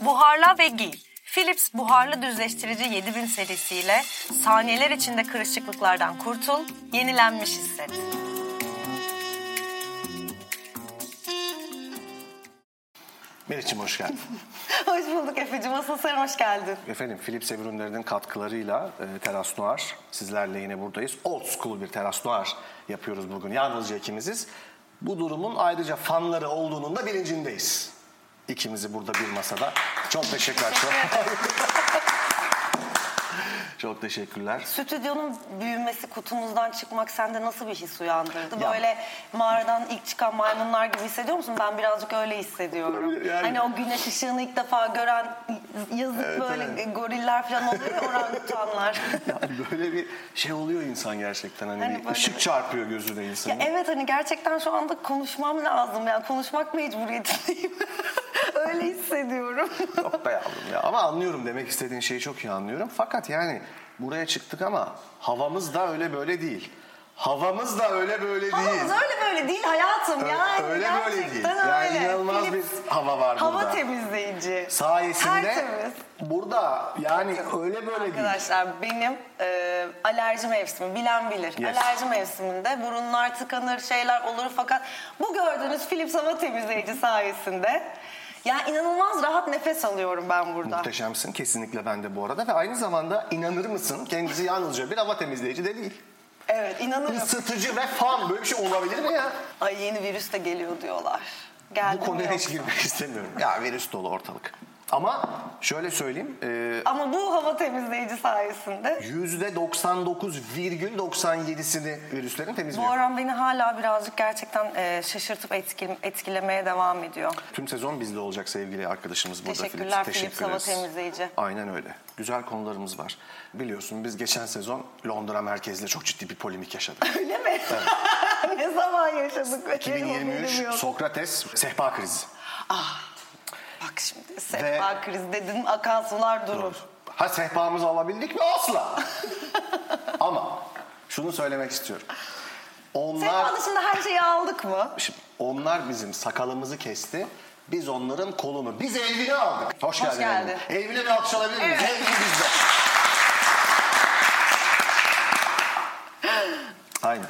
Toparla ve giy. Philips buharlı düzleştirici 7000 serisiyle saniyeler içinde kırışıklıklardan kurtul, yenilenmiş hisset. Meriç'im hoş geldin. hoş bulduk Efe'cim. Asıl sen hoş geldin. Efendim Philips ev ürünlerinin katkılarıyla e, Teras Noir sizlerle yine buradayız. Old school bir Teras Noir yapıyoruz bugün. Yalnızca ikimiziz. Bu durumun ayrıca fanları olduğunun da bilincindeyiz. İkimizi burada bir masada. Çok teşekkürler. Çok, çok teşekkürler. Stüdyonun büyümesi, kutumuzdan çıkmak sende nasıl bir his uyandırdı? Ya- Böyle mağaradan ilk çıkan maymunlar gibi hissediyor musun? Ben birazcık öyle hissediyorum. Yani- Hani o güneş ışığını ilk defa gören yazık Evet, böyle evet. goriller falan oluyor ya orangutanlar. Yani böyle bir şey oluyor insan gerçekten. Hani, Hani bir böyle ışık bir- çarpıyor gözüne Ya insanın. evet hani gerçekten şu anda konuşmam lazım yani konuşmak mecburiyetindeyim. Öyle hissediyorum. Yok be yavrum ya. Ama anlıyorum demek istediğin şeyi çok iyi anlıyorum. Fakat yani buraya çıktık ama havamız da öyle böyle değil. Havamız da öyle böyle değil. Havamız öyle böyle değil hayatım yani. öyle böyle değil. gerçekten Yani öyle. inanılmaz Philips bir hava var hava burada. temizleyici. Sayesinde Tertemiz. burada yani öyle böyle değil. Arkadaşlar benim e, alerji mevsimi bilen bilir. Yes. Alerji mevsiminde burunlar tıkanır şeyler olur fakat bu gördüğünüz Philips hava temizleyici sayesinde ya inanılmaz rahat nefes alıyorum ben burada. Muhteşemsin kesinlikle ben de bu arada ve aynı zamanda inanır mısın kendisi yalnızca bir hava temizleyici de değil. Evet inanırım. Isıtıcı ve fan böyle bir şey olabilir mi ya? Ay yeni virüs de geliyor diyorlar. Geldi Bu mi konuya yok? hiç girmek istemiyorum. Ya virüs dolu ortalık. Ama şöyle söyleyeyim. e, Ama bu hava temizleyici sayesinde %99,97'sini virüslerin bu temizliyor. oran beni hala birazcık gerçekten e, şaşırtıp etkil- etkilemeye devam ediyor. Tüm sezon bizde olacak sevgili arkadaşımız burada Teşekkürler Philips Teşekkür hava ederiz. temizleyici. Aynen öyle. Güzel konularımız var. Biliyorsun biz geçen sezon Londra merkezle çok ciddi bir polemik yaşadık. Öyle mi? ne zaman yaşadık? Benim 2023 haberim yok. Sokrates sehpa krizi. Bak şimdi sefa Ve- kriz dedin akan sular durur. Ha sehpamızı alabildik mi? Asla. Ama şunu söylemek istiyorum. Onlar... Sefa dışında her şeyi aldık mı? Şimdi onlar bizim sakalımızı kesti. Biz onların kolunu. Biz Elvin'i aldık. Hoş, geldin. geldin. Elvin. Elvin'e bir alkış alabilir miyiz? Evet. Elvin bizde. Aynen.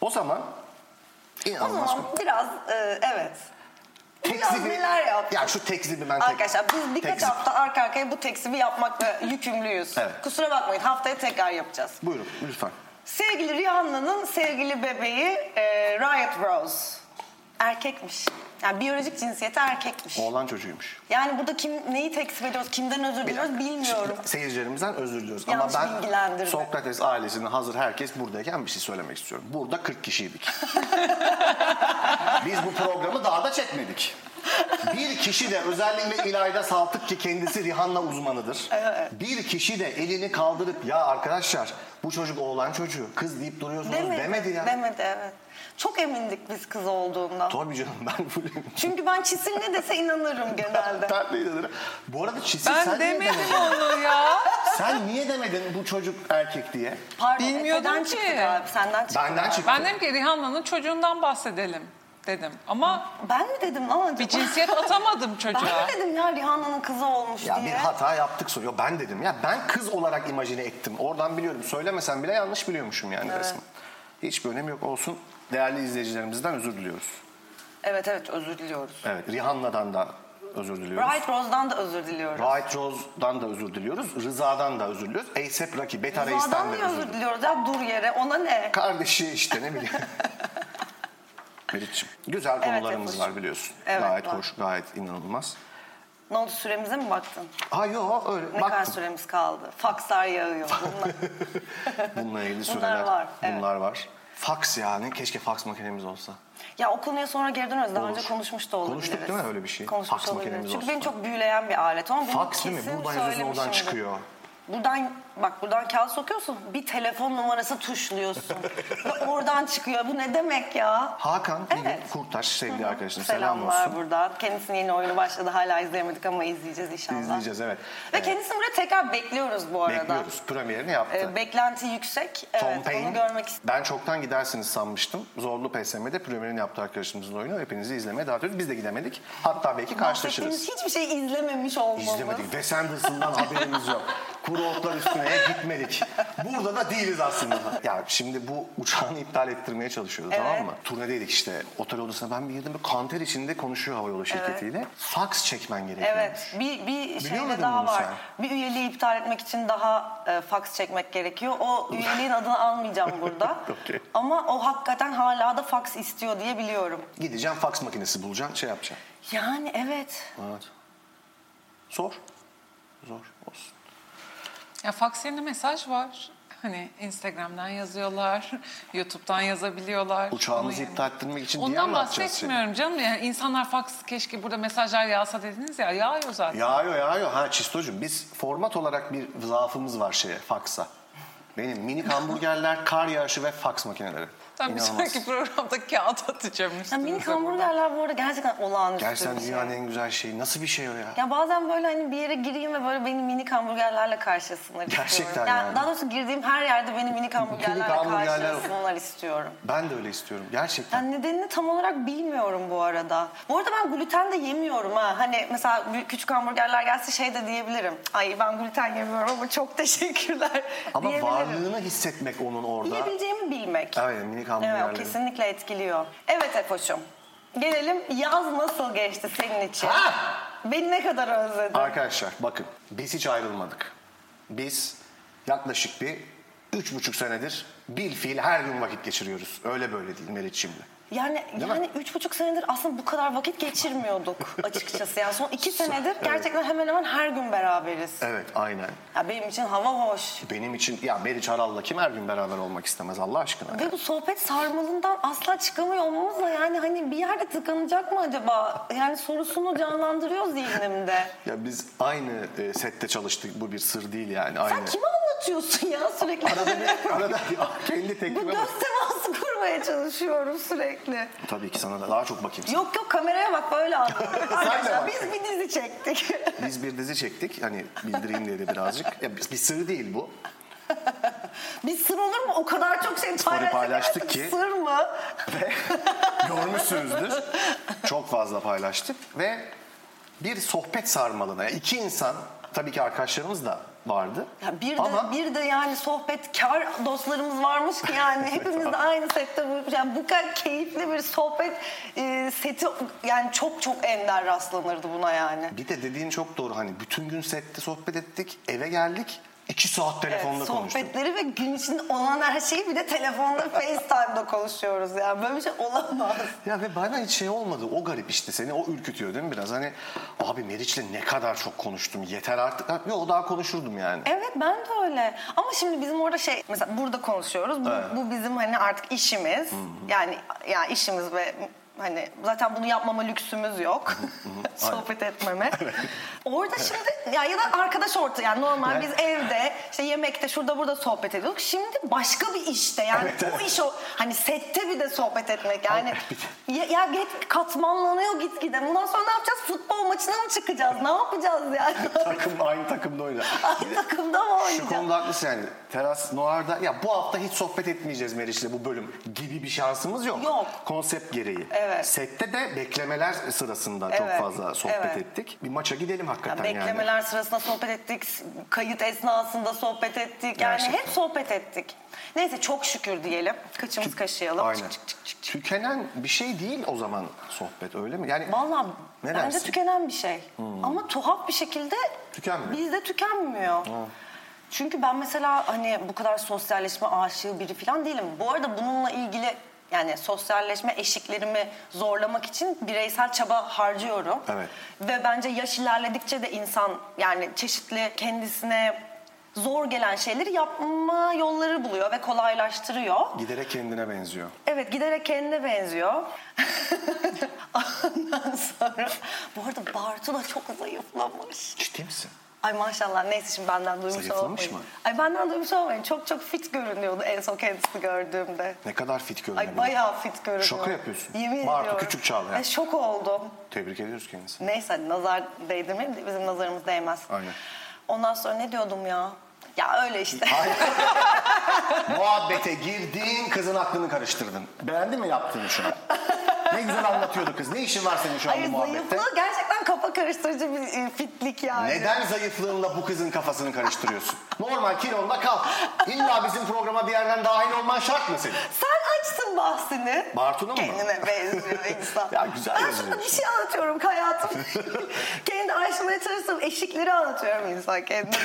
O zaman O inanılmaz. zaman biraz e, evet. biraz Tekzibi- neler yaptık? Ya şu tekzibi ben tek- Arkadaşlar biz birkaç tekzip. hafta arka arkaya bu tekzibi yapmakla yükümlüyüz. Evet. Kusura bakmayın haftaya tekrar yapacağız. Buyurun lütfen. Sevgili Rihanna'nın sevgili bebeği e, Riot Rose erkekmiş. Yani biyolojik cinsiyeti erkekmiş. Oğlan çocuğuymuş. Yani burada kim neyi tekzip ediyoruz, kimden özür diliyoruz bilmiyorum. Şimdi seyircilerimizden özür diliyoruz. Yanlış Ama ben bilgilendirme. Sokrates ailesinin hazır herkes buradayken bir şey söylemek istiyorum. Burada 40 kişiydik. Biz bu programı daha da çekmedik. Bir kişi de özellikle İlayda Saltık ki kendisi Rihanna uzmanıdır. Bir kişi de elini kaldırıp ya arkadaşlar bu çocuk oğlan çocuğu kız deyip duruyorsunuz demedi, ya. Demedi evet. Çok emindik biz kız olduğundan. Tabii canım ben full- Çünkü ben çisil ne dese inanırım genelde. Ben de inanırım. Bu arada Çisil Ben sen niye demedim demedin? onu ya. Sen niye demedin bu çocuk erkek diye? Pardon, Bilmiyordum Efe'den ki. çıktı galiba, senden çıktı. Benden çıktı. Ben dedim ki Rihanna'nın çocuğundan bahsedelim dedim. Ama Ben mi dedim lan acaba? bir cinsiyet atamadım Ben çocuğa. mi dedim ya Rihanna'nın kızı olmuş Ya diye. bir hata yaptık soruyor. Ben dedim ya ben kız olarak imajine ettim. Oradan biliyorum. Söylemesem bile yanlış biliyormuşum yani resmen. Hiçbir önemi yok olsun. Değerli izleyicilerimizden özür diliyoruz. Evet evet özür diliyoruz. Evet Rihanna'dan da özür diliyoruz. Bright Rose'dan da özür diliyoruz. Right Rose'dan da özür diliyoruz. Rıza'dan da özür diliyoruz. A$AP Rocky, Beta Reis'ten Rıza'dan de niye özür özür diliyoruz. diliyoruz ya dur yere ona ne? Kardeşi işte ne bileyim. Meriç'ciğim güzel konularımız Efe'cim. var biliyorsun. Evet, gayet var. hoş, gayet inanılmaz. Ne oldu süremize mi baktın? Ha yok öyle. Ne kadar Baktım. süremiz kaldı? Fakslar yağıyor. Bunlar. Bununla ilgili Bunlar süreler. var, evet. Bunlar var. Fax yani. Keşke fax makinemiz olsa. ya o konuya sonra geri döneriz. Daha Olur. önce konuşmuş da olabiliriz. Konuştuk değil mi öyle bir şey? Konuşmuş Faks olabiliriz. makinemiz Çünkü olsun. beni çok büyüleyen bir alet. Ama bunu Fax değil mi? kesin Buradan yazıyorsun oradan söylemişimdir. çıkıyor. Buradan bak buradan kağıt sokuyorsun. Bir telefon numarası tuşluyorsun. Ve oradan çıkıyor. Bu ne demek ya? Hakan Evet. Bilgin Kurtaş sevgili arkadaşım selam Selamlar olsun. buradan. Kendisinin yeni oyunu başladı. Hala izleyemedik ama izleyeceğiz inşallah. İzleyeceğiz evet. Ve kendisini buraya tekrar bekliyoruz bu arada. Bekliyoruz. Premierini yaptı. Ee, beklenti yüksek. Evet, Tom Payne. onu görmek istiyorum. Ben çoktan gidersiniz sanmıştım. Zorlu PSM'de premierini yaptı arkadaşımızın oyunu. Hepinizi izlemeye davet ediyoruz. Biz de gidemedik. Hatta belki karşılaşırız. Bahsettiğimiz hiççbir şey izlememiş olmamız. İzlemedik. Wes Anderson'dan haberimiz yok. Kuru otlar üstüne gitmedik. Burada da değiliz aslında. Ya şimdi bu uçağını iptal ettirmeye çalışıyoruz tamam Evet. mı? Turnedeydik işte. Otel odasına ben bir girdim. Böyle Kanter içinde konuşuyor havayolu şirketiyle. Fax çekmen gerekiyor. Evet, bir, bir şeyde muydun daha bunu var. sen? Bir üyeliği iptal etmek için daha e, faks çekmek gerekiyor. O üyeliğin adını almayacağım burada. Okey. Ama o hakikaten hala da faks istiyor diye biliyorum. Gideceğim fax makinesi bulacağım. Şey yapacağım. Yani evet. Evet. Zor. Zor olsun. Ya faks yerine mesaj var. Hani Instagram'dan yazıyorlar, YouTube'dan yazabiliyorlar. Uçağımızı Onu- iptal ettirmek için diye Ondan mi atacağız seni? bahsetmiyorum canım. Yani insanlar faks keşke burada mesajlar yağsa dediniz ya yağıyor zaten. Yağıyor yağıyor. Ha Çistocuğum biz format olarak bir zaafımız var şeye faksa. Benim minik hamburgerler, kar yağışı ve faks makineleri. Ben bir İnanılmaz. sonraki programda kağıt atacağım Ya üstüne. mini hamburgerler bu arada gerçekten olağanüstü Gerçekten bir şey. dünyanın en güzel şeyi. Nasıl bir şey o ya? Ya bazen böyle hani bir yere gireyim ve böyle beni minik hamburgerlerle karşılasınlar Gerçekten istiyorum. yani. Daha doğrusu girdiğim her yerde beni minik hamburgerlerle hamburgerler- karşılasınlar istiyorum. Ben de öyle istiyorum. Gerçekten. Yani nedenini tam olarak bilmiyorum bu arada. Bu arada ben gluten de yemiyorum ha. Hani mesela büyük- küçük hamburgerler gelse şey de diyebilirim. Ay ben gluten yemiyorum ama çok teşekkürler Ama diyebilirim. varlığını hissetmek onun orada. Yiyebileceğimi bilmek. Aynen minik Evet o hamburgerleri. kesinlikle etkiliyor. Evet Efoş'um. Gelelim yaz nasıl geçti senin için? Ha! Beni ne kadar özledin? Arkadaşlar bakın biz hiç ayrılmadık. Biz yaklaşık bir üç buçuk senedir bil fiil her gün vakit geçiriyoruz. Öyle böyle değil Meriç şimdi. Yani Değil yani mi? üç buçuk senedir aslında bu kadar vakit geçirmiyorduk açıkçası. Yani son iki senedir gerçekten hemen hemen her gün beraberiz. Evet aynen. Ya benim için hava hoş. Benim için ya Meriç Aral'la kim her gün beraber olmak istemez Allah aşkına. ya? Ve bu sohbet sarmalından asla çıkamıyor olmamız da yani hani bir yerde tıkanacak mı acaba? Yani sorusunu canlandırıyor zihnimde. Ya biz aynı e, sette çalıştık bu bir sır değil yani. Aynı. Sen kime anlatıyorsun ya sürekli? Arada bir- arada bir- kendi bu teklime bak. göz teması kurmaya çalışıyorum sürekli. Tabii ki sana da daha çok bakayım. Yok yok kameraya bak böyle anlat. Arkadaşlar bak. biz bir dizi çektik. Biz bir dizi çektik hani bildireyim diye de birazcık. Ya biz- bir sır değil bu. Biz sır olur mu? O kadar çok şey paylaştık. paylaştık artık ki- Sır mı? Görmüşsünüzdür. Çok fazla paylaştık ve bir sohbet sarmalına. Yani iki insan tabii ki arkadaşlarımız da vardı. Ya bir de Ama bir de yani sohbetkar dostlarımız varmış ki yani hepimiz de aynı sette bu yani bu kadar keyifli bir sohbet e, seti yani çok çok ender rastlanırdı buna yani. bir de dediğin çok doğru hani bütün gün sette sohbet ettik eve geldik iki saat telefonla Evet, konuştuk. sohbetleri ve gün içinde olan her şeyi bir de telefonda FaceTime'da konuşuyoruz yani böyle bir şey olamaz. Ya ve bana hiç şey olmadı. O garip işte seni o ürkütüyor değil mi biraz? Hani abi Meriç'le ne kadar çok konuştum yeter artık. Ha, Yok daha konuşurdum yani. Evet ben de öyle. Ama şimdi bizim orada şey mesela burada konuşuyoruz. Bu, Evet. bu bizim hani artık işimiz. Yani ya işimiz ve hani zaten bunu yapmama lüksümüz yok. Sohbet etmeme. Orada şimdi ya ya da arkadaş orta yani normal Evet. biz evde işte yemekte şurada burada sohbet ediyorduk. Şimdi başka bir işte yani Evet, o iş o hani sette bir de sohbet etmek yani ya, ya git katmanlanıyor gitgide. Bundan sonra ne yapacağız? Futbol maçına mı çıkacağız? Ne yapacağız yani? Takım aynı takımda oynadı. Aynı takımda mı Şu oynayacağız? konuda haklısın yani. Teras Noir'da ya bu hafta hiç sohbet etmeyeceğiz Meriç'le bu bölüm gibi bir şansımız yok. Yok. Konsept gereği. Evet. Sette de beklemeler sırasında çok Evet, fazla sohbet evet. ettik. Bir maça gidelim Ya hakikaten yani. beklemeler sırasında sohbet ettik, kayıt esnasında sohbet ettik. Yani Gerçekten. hep sohbet ettik. Neyse çok şükür diyelim. Kıçımız kaşıyalım. Aynen. Çık, çık, çık, çık. Tükenen bir şey değil o zaman sohbet öyle mi? Yani Vallahi Ne bence dersin? Hmm. tükenen bir şey. Ama tuhaf bir şekilde Tükenmiyor. bizde tükenmiyor. Çünkü ben mesela hani bu kadar sosyalleşme aşığı biri falan değilim. Bu arada bununla ilgili yani sosyalleşme eşiklerimi zorlamak için bireysel çaba harcıyorum. Evet. Ve bence yaş ilerledikçe de insan yani çeşitli kendisine zor gelen şeyleri yapma yolları buluyor ve kolaylaştırıyor. giderek kendine benziyor. Evet giderek kendine benziyor. Ondan sonra bu arada Bartu da çok zayıflamış. Ciddi misin? Ay maşallah neyse şimdi benden duymuş Zayıflamış olmayın. mı? Ay benden duymuş olmayın. Çok çok fit görünüyordu en son kendisini gördüğümde. Ne kadar fit görünüyor. Ay bayağı fit görünüyor. Şaka yapıyorsun. Yemin Bartu ediyorum. Küçük Çağlayan. Ay şok oldum. Tebrik ediyoruz kendisini. Neyse hadi nazar değdirmeyelim de bizim nazarımız değmez. Aynen. Ondan sonra ne diyordum ya? Ya öyle işte. Hayır. Muhabbete girdin, kızın aklını karıştırdın. Beğendin mi yaptığını şu an? Ne güzel anlatıyordu kız. Ne işin var senin şu an bu Hayır muhabbette? zayıflığı gerçekten kafa karıştırıcı bir e, fitlik yani. Neden zayıflığınla bu kızın kafasını karıştırıyorsun? Normal kilonla kal. İlla bizim programa bir yerden dahil olman şart mı senin? Sen açsın bahsini. Bartu'nun mu? Kendine benziyor insan. Ya güzel Ben yazıyor sana bir şey anlatıyorum hayatım. Kendi aşmaya çalıştığım eşikleri anlatıyorum insan kendine.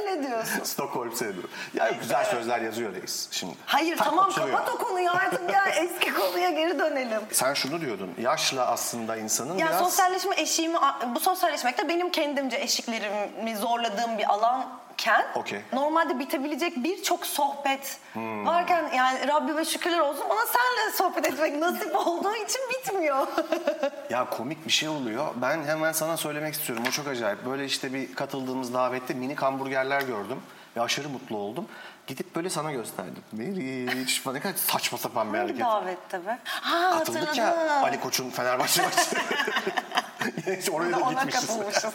Öyle diyorsun. Stockholm sendromu. Ya güzel sözler yazıyor reis şimdi. Hayır Tak tamam oturuyor. kapat o konuyu artık ya eski konuya geri dönelim. Sen şunu diyordun. Yaşla aslında insanın Ya biraz... sosyalleşme eşiğimi, bu sosyalleşmek de benim kendimce eşiklerimi zorladığım bir alanken Okey. Hmm. normalde bitebilecek birçok sohbet varken yani Rabbime şükürler olsun bana senle sohbet etmek nasip olduğu için bitmiyor. Ya komik bir şey oluyor. Ben hemen sana söylemek istiyorum. O çok acayip. Böyle işte bir katıldığımız davette minik hamburgerler gördüm. Ve aşırı mutlu oldum. Gidip böyle sana gösterdim. Meriç falan. Ne kadar saçma sapan bir Hangi hareket. davette be? Ha Katıldık hatırladım. ya Ali Koç'un Fenerbahçe maçı. Neyse oraya da Ona gitmişiz. katılmışız.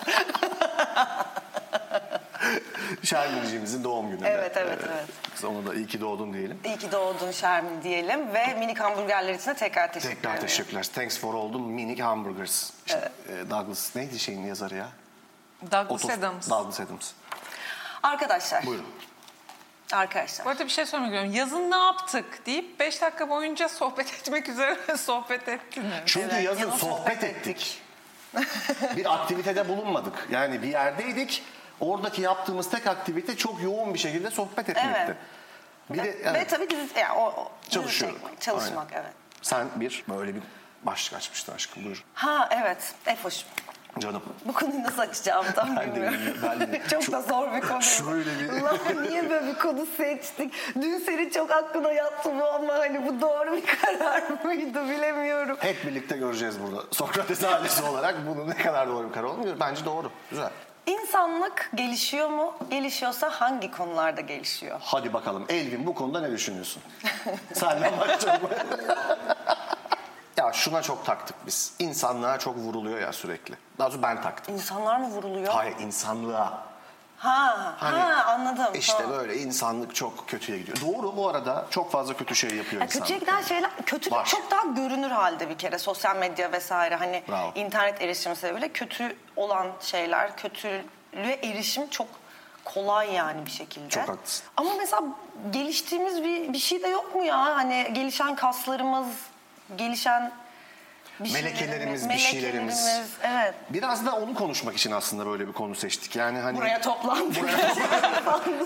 Şermin'cimizin doğum gününde. Evet, evet, evet. Biz ona da iyi ki doğdun diyelim. İyi ki doğdun Şermin diyelim ve minik hamburgerler için de tekrar teşekkür Tekrar ederim. teşekkürler. Thanks for oldum. Minik hamburgers. İşte, e, Douglas neydi şeyin yazarı ya? Douglas Otto- Adams. Douglas Adams. Arkadaşlar, Buyurun. arkadaşlar. Bu arada bir şey sormak istiyorum. Yazın ne yaptık deyip 5 dakika boyunca sohbet etmek üzere sohbet ettiniz. Çünkü Evet, yazın yazın sohbet sohbet ettik. bir aktivitede bulunmadık. Yani bir yerdeydik. Oradaki yaptığımız tek aktivite çok yoğun bir şekilde sohbet etmekti. Evet. Bir de Ve evet, tabii dizi, yani o, o dizi Çalışıyorum. çekmek, çalışmak evet. sen bir böyle bir başlık açmıştın aşkım. Buyur. Ha evet Efoş. Canım. Bu konuyu nasıl açacağımı Ben tam de bilmiyorum. bilmiyorum, ben de. çok Şu- da zor bir konu. şöyle bir- Ulan niye böyle bir konu seçtik? Dün senin çok aklına yattı bu ama hani bu doğru bir karar mıydı bilemiyorum. Hep birlikte göreceğiz burada. Sokrates ailesi olarak bunun ne kadar doğru bir karar olmuyor. Bence doğru. Güzel. İnsanlık gelişiyor mu? Gelişiyorsa hangi konularda gelişiyor? Hadi bakalım Elvin bu konuda ne düşünüyorsun? Senden başlayalım. ya şuna çok taktık biz. İnsanlığa çok vuruluyor ya sürekli. Daha doğrusu ben taktım. İnsanlar mı vuruluyor? Hayır insanlığa. Ha, Hani ha anladım. İşte tamam. böyle insanlık çok kötüye gidiyor. Doğru bu arada çok fazla kötü şey yapıyor Ya insanlık. kötüye giden şeyler kötülük Var. çok daha görünür halde bir kere sosyal medya vesaire hani Bravo. internet erişimi sebebiyle kötü olan şeyler kötülüğe erişim çok kolay yani bir şekilde. Çok haklısın. Ama mesela geliştiğimiz bir bir şey de yok mu ya hani gelişen kaslarımız gelişen bir şeylerimiz, Melekelerimiz, bir şeylerimiz. melekelerimiz, Evet. Biraz da onu konuşmak için aslında böyle bir konu seçtik. Yani hani Buraya toplandık.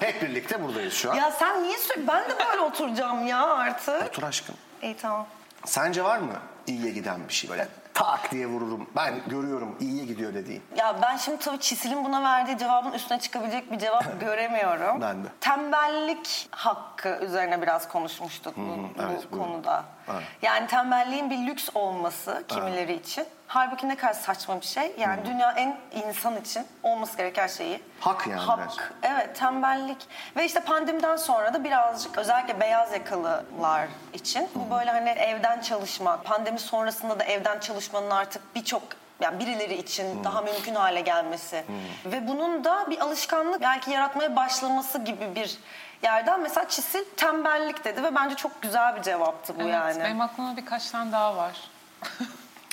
hep birlikte buradayız şu an. ya sen niye sürekli ben de böyle oturacağım ya artık. Otur aşkım. İyi tamam. Sence var mı iyiye giden bir şey böyle? Tak diye vururum. Ben görüyorum iyiye gidiyor dediğin. Ya ben şimdi tabii Çisil'in buna verdiği cevabın üstüne çıkabilecek bir cevap göremiyorum. Ben de. Tembellik hakkı üzerine biraz konuşmuştuk bu, bu evet, buyurun. konuda. Evet. Yani tembelliğin bir lüks olması kimileri için. Halbuki ne kadar saçma bir şey. Yani dünya en insan için olması gereken şeyi. Hak yani Hak. bence. Evet tembellik. Ve işte pandemiden sonra da birazcık özellikle beyaz yakalılar için bu böyle hani evden çalışma, pandemi sonrasında da evden çalışmanın artık birçok yani birileri için daha mümkün hale gelmesi ve bunun da bir alışkanlık belki yaratmaya başlaması gibi bir yerden mesela Çisil tembellik dedi ve bence çok güzel bir cevaptı bu Evet, yani. Benim aklımda birkaç tane daha var.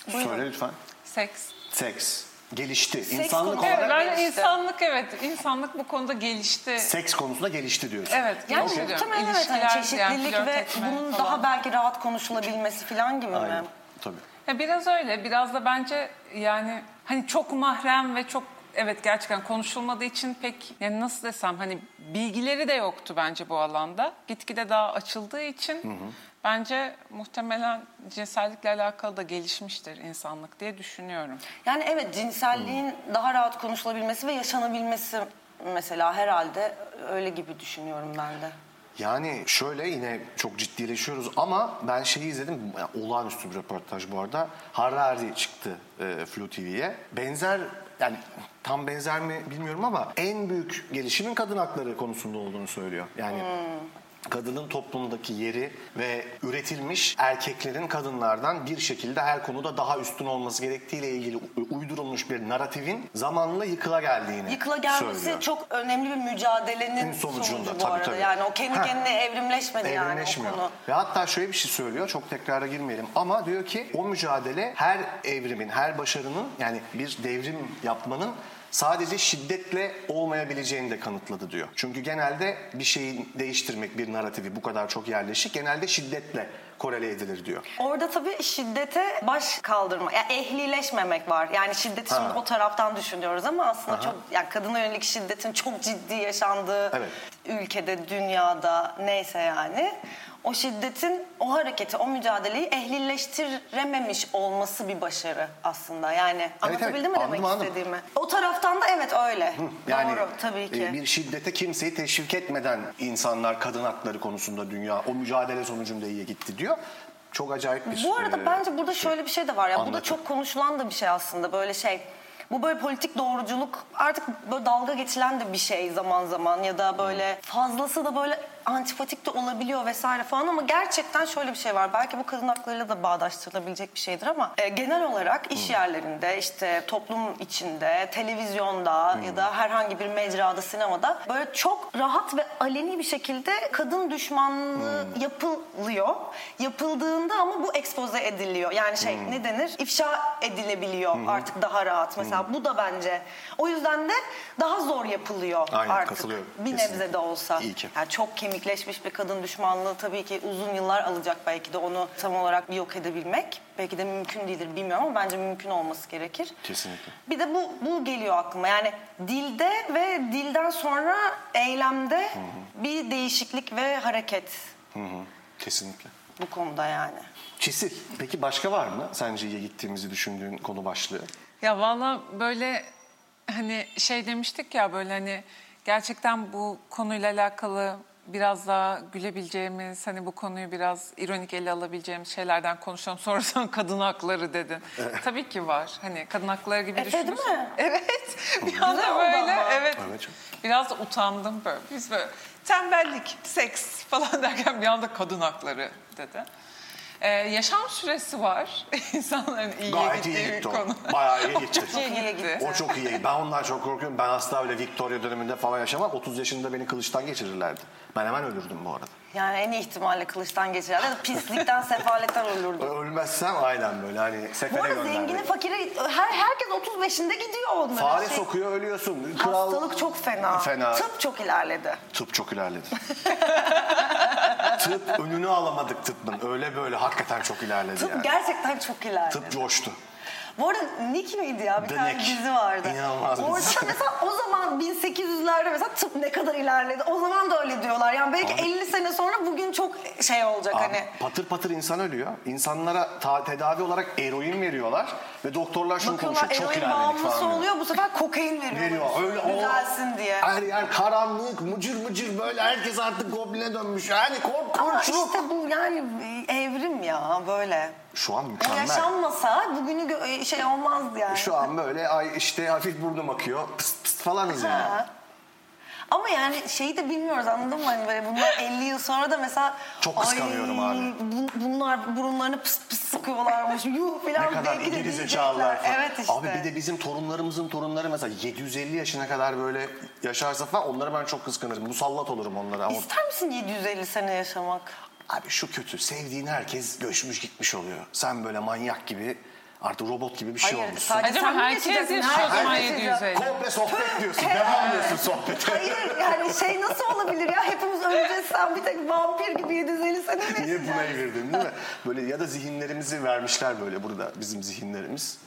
Söyle lütfen. Seks. Seks gelişti. İnsanlık konusu. olarak Evet, ben gelişti. insanlık evet insanlık bu konuda gelişti. seks konusunda gelişti diyorsun. Evet, Yani Okey. muhtemelen evet hani İlişkiler, çeşitlilik yani flört ve etme bunun falan. daha belki rahat konuşulabilmesi falan gibi Aynen. mi? Tabii. Ya biraz öyle biraz da bence yani hani çok mahrem ve çok evet gerçekten konuşulmadığı için pek yani nasıl desem hani bilgileri de yoktu bence bu alanda. Gitgide daha açıldığı için bence muhtemelen cinsellikle alakalı da gelişmiştir insanlık diye düşünüyorum. Yani evet cinselliğin Hmm. daha rahat konuşulabilmesi ve yaşanabilmesi mesela herhalde öyle gibi düşünüyorum ben de. Yani şöyle yine çok ciddileşiyoruz ama ben şeyi izledim. yani olağanüstü bir röportaj bu arada. Harari çıktı e, Flu TV'ye. Benzer yani tam benzer mi bilmiyorum ama en büyük gelişimin kadın hakları konusunda olduğunu söylüyor. Yani Hmm. kadının toplumdaki yeri ve üretilmiş erkeklerin kadınlardan bir şekilde her konuda daha üstün olması gerektiğiyle ilgili u- uydurulmuş bir naratifin zamanla yıkıla geldiğini Yıkıla gelmesi söylüyor. çok önemli bir mücadelenin Gün sonucunda, sonucu bu tabii, arada. tabii. Yani o kendi Ha. kendine evrimleşmedi yani o Evrimleşmiyor. konu. Ve hatta şöyle bir şey söylüyor. Çok tekrara girmeyelim. Ama diyor ki o mücadele her evrimin, her başarının yani bir devrim yapmanın sadece şiddetle olmayabileceğini de kanıtladı diyor. Çünkü genelde bir şeyi değiştirmek, bir narratifi bu kadar çok yerleşik genelde şiddetle korele edilir diyor. Orada tabii şiddete baş kaldırma, yani ehlileşmemek var. Yani şiddeti şimdi Ha. o taraftan düşünüyoruz ama aslında Aha. çok yani kadına yönelik şiddetin çok ciddi yaşandığı Evet. ülkede, dünyada neyse yani o şiddetin o hareketi, o mücadeleyi ehlileştirememiş olması bir başarı aslında. Yani anlatabildim mi anladım, demek anladım. istediğimi? O taraftan da evet öyle. Yani Doğru tabii ki. e, bir şiddete kimseyi teşvik etmeden insanlar kadın hakları konusunda dünya o mücadele sonucunda iyiye gitti diyor. Çok acayip bir Bu arada e, bence burada şey. şöyle bir şey de var ya. Bu da Anlatın. çok konuşulan da bir şey aslında. Böyle şey bu böyle politik doğruculuk artık böyle dalga geçilen de bir şey zaman zaman ya da böyle Hmm. fazlası da böyle antipatik de olabiliyor vesaire falan ama gerçekten şöyle bir şey var. Belki bu kadın haklarıyla da bağdaştırılabilecek bir şeydir ama e, genel olarak Hmm. iş yerlerinde işte toplum içinde televizyonda ya Hmm. da herhangi bir mecrada sinemada böyle çok rahat ve aleni bir şekilde kadın düşmanlığı Hmm. yapılıyor. Yapıldığında ama bu ekspoze ediliyor. Yani şey Hmm. ne denir? İfşa edilebiliyor artık daha rahat. Mesela Hmm. bu da bence. O yüzden de daha zor yapılıyor Aynen, artık. katılıyorum. Bir Kesinlikle. nebze de olsa. İyi ki. Yani çok kemikleşmiş bir kadın düşmanlığı tabii ki uzun yıllar alacak belki de onu tam olarak yok edebilmek. Belki de mümkün değildir bilmiyorum ama bence mümkün olması gerekir. Kesinlikle. Bir de bu bu geliyor aklıma. Yani dilde ve dilden sonra eylemde bir değişiklik ve hareket Kesinlikle. bu konuda yani. Çisil. Peki başka var mı sence iyiye gittiğimizi düşündüğün konu başlığı? Ya valla böyle hani şey demiştik ya böyle hani gerçekten bu konuyla alakalı biraz daha gülebileceğimiz hani bu konuyu biraz ironik ele alabileceğimiz şeylerden konuşalım. Sonradan kadın hakları dedin. Tabii ki var. Hani kadın hakları gibi Efe değil düşünürsün. mi? Evet. Bir anda oldu böyle ama. evet. Evet. Biraz da utandım böyle. Biz böyle tembellik, seks falan derken bir anda kadın hakları dedi. Ee, yaşam süresi var. İnsanların iyiye Gayet gittiği iyi bir gitti konu. o. Bayağı iyi gitti. iyi gitti. o çok iyi. Ben ondan çok korkuyorum. Ben asla öyle Victoria döneminde falan yaşamam. 30 yaşında beni kılıçtan geçirirlerdi. Ben hemen ölürdüm bu arada. Yani en iyi ihtimalle kılıçtan geçirer. Ya da Pislikten, sefaletten ölürdü. Ölmezsem aynen böyle hani Bu sefere arada zengini, gönderdim. fakire her herkes 35'inde gidiyor onların. Fare Şey, sokuyor ölüyorsun. Kral... Hastalık çok fena. Fena. Tıp çok ilerledi. Tıp çok ilerledi. tıp önünü alamadık tıbbın. Öyle böyle hakikaten çok ilerledi Tıp yani. gerçekten çok ilerledi. Tıp coştu. Bu arada Nick miydi ya? Bir The tane Nick. dizi vardı. İnanılmaz bir Orada dizi. mesela o zaman 1800'lerde mesela tıp ne kadar ilerledi. O zaman da öyle diyorlar. Yani belki Abi- 50 sene sonra bugün çok şey olacak Abi, hani. Patır patır insan ölüyor. İnsanlara ta- tedavi olarak eroin veriyorlar ve doktorlar şunu Bakıyorlar konuşuyor. Çok eroin ilerledik bağımlısı falan. diyor. oluyor. Bu sefer kokain veriyor. Veriyor. Öyle o- Düzelsin diye. Her yer karanlık, mıcır mıcır böyle herkes artık gobline dönmüş. Yani Ama korkunç. işte bu yani evrim ya böyle. Şu an O mükemmel. yaşanmasa bugünü gö- şey olmazdı yani. Şu an böyle ay işte hafif burnum akıyor. Pıst pıst falanız yani. Ha. Ama yani şeyi de bilmiyoruz anladın mı? Hani böyle bunlar 50 yıl sonra da mesela... Çok kıskanıyorum "Ay, abi." bu- bunlar burunlarını pıs pıs sıkıyorlarmış. Yuh Ne falan. kadar belki de geri diyecekler. zekalılar falan. Evet işte. Abi bir de bizim torunlarımızın torunları mesela 750 yaşına kadar böyle yaşarsa falan onlara ben çok kıskanırım. Musallat olurum onlara. Ama İster misin 750 sene yaşamak? Abi şu kötü. Sevdiğin herkes göçmüş gitmiş oluyor. Sen böyle manyak gibi artık robot gibi bir şey Hayır, olmuşsun. sadece Acaba sen mi herkes yaşayacaksın? yaşıyor o Herkes zaman yaşayacak. 750. Komple sohbet diyorsun. Devam diyorsun sohbete. Hayır yani şey nasıl olabilir ya? Hepimiz öleceğiz sen bir tek vampir gibi 750 sene mi Niye buna girdin değil mi? Böyle ya da zihinlerimizi vermişler böyle burada bizim zihinlerimiz.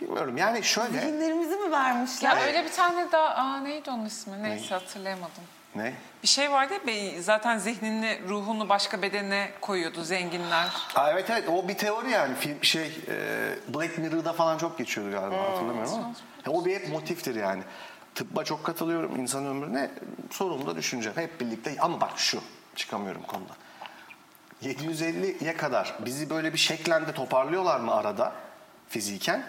Bilmiyorum yani şöyle. Zihinlerimizi mi vermişler? Ya öyle bir tane daha aa neydi onun ismi? Neyse hatırlayamadım. Ne? Bir şey vardı ya be- zaten zihnini, ruhunu başka bedene koyuyordu zenginler. Ah, Aa, evet evet o bir teori yani film şey e, Black Mirror'da falan çok geçiyordu galiba hatırlamıyorum ama. Ya, o bir hep motiftir yani. Tıbba çok katılıyorum insan ömrüne sorumlu da düşüneceğim hep birlikte ama bak şu çıkamıyorum konuda. 750'ye kadar bizi böyle bir şeklende toparlıyorlar mı arada fiziken?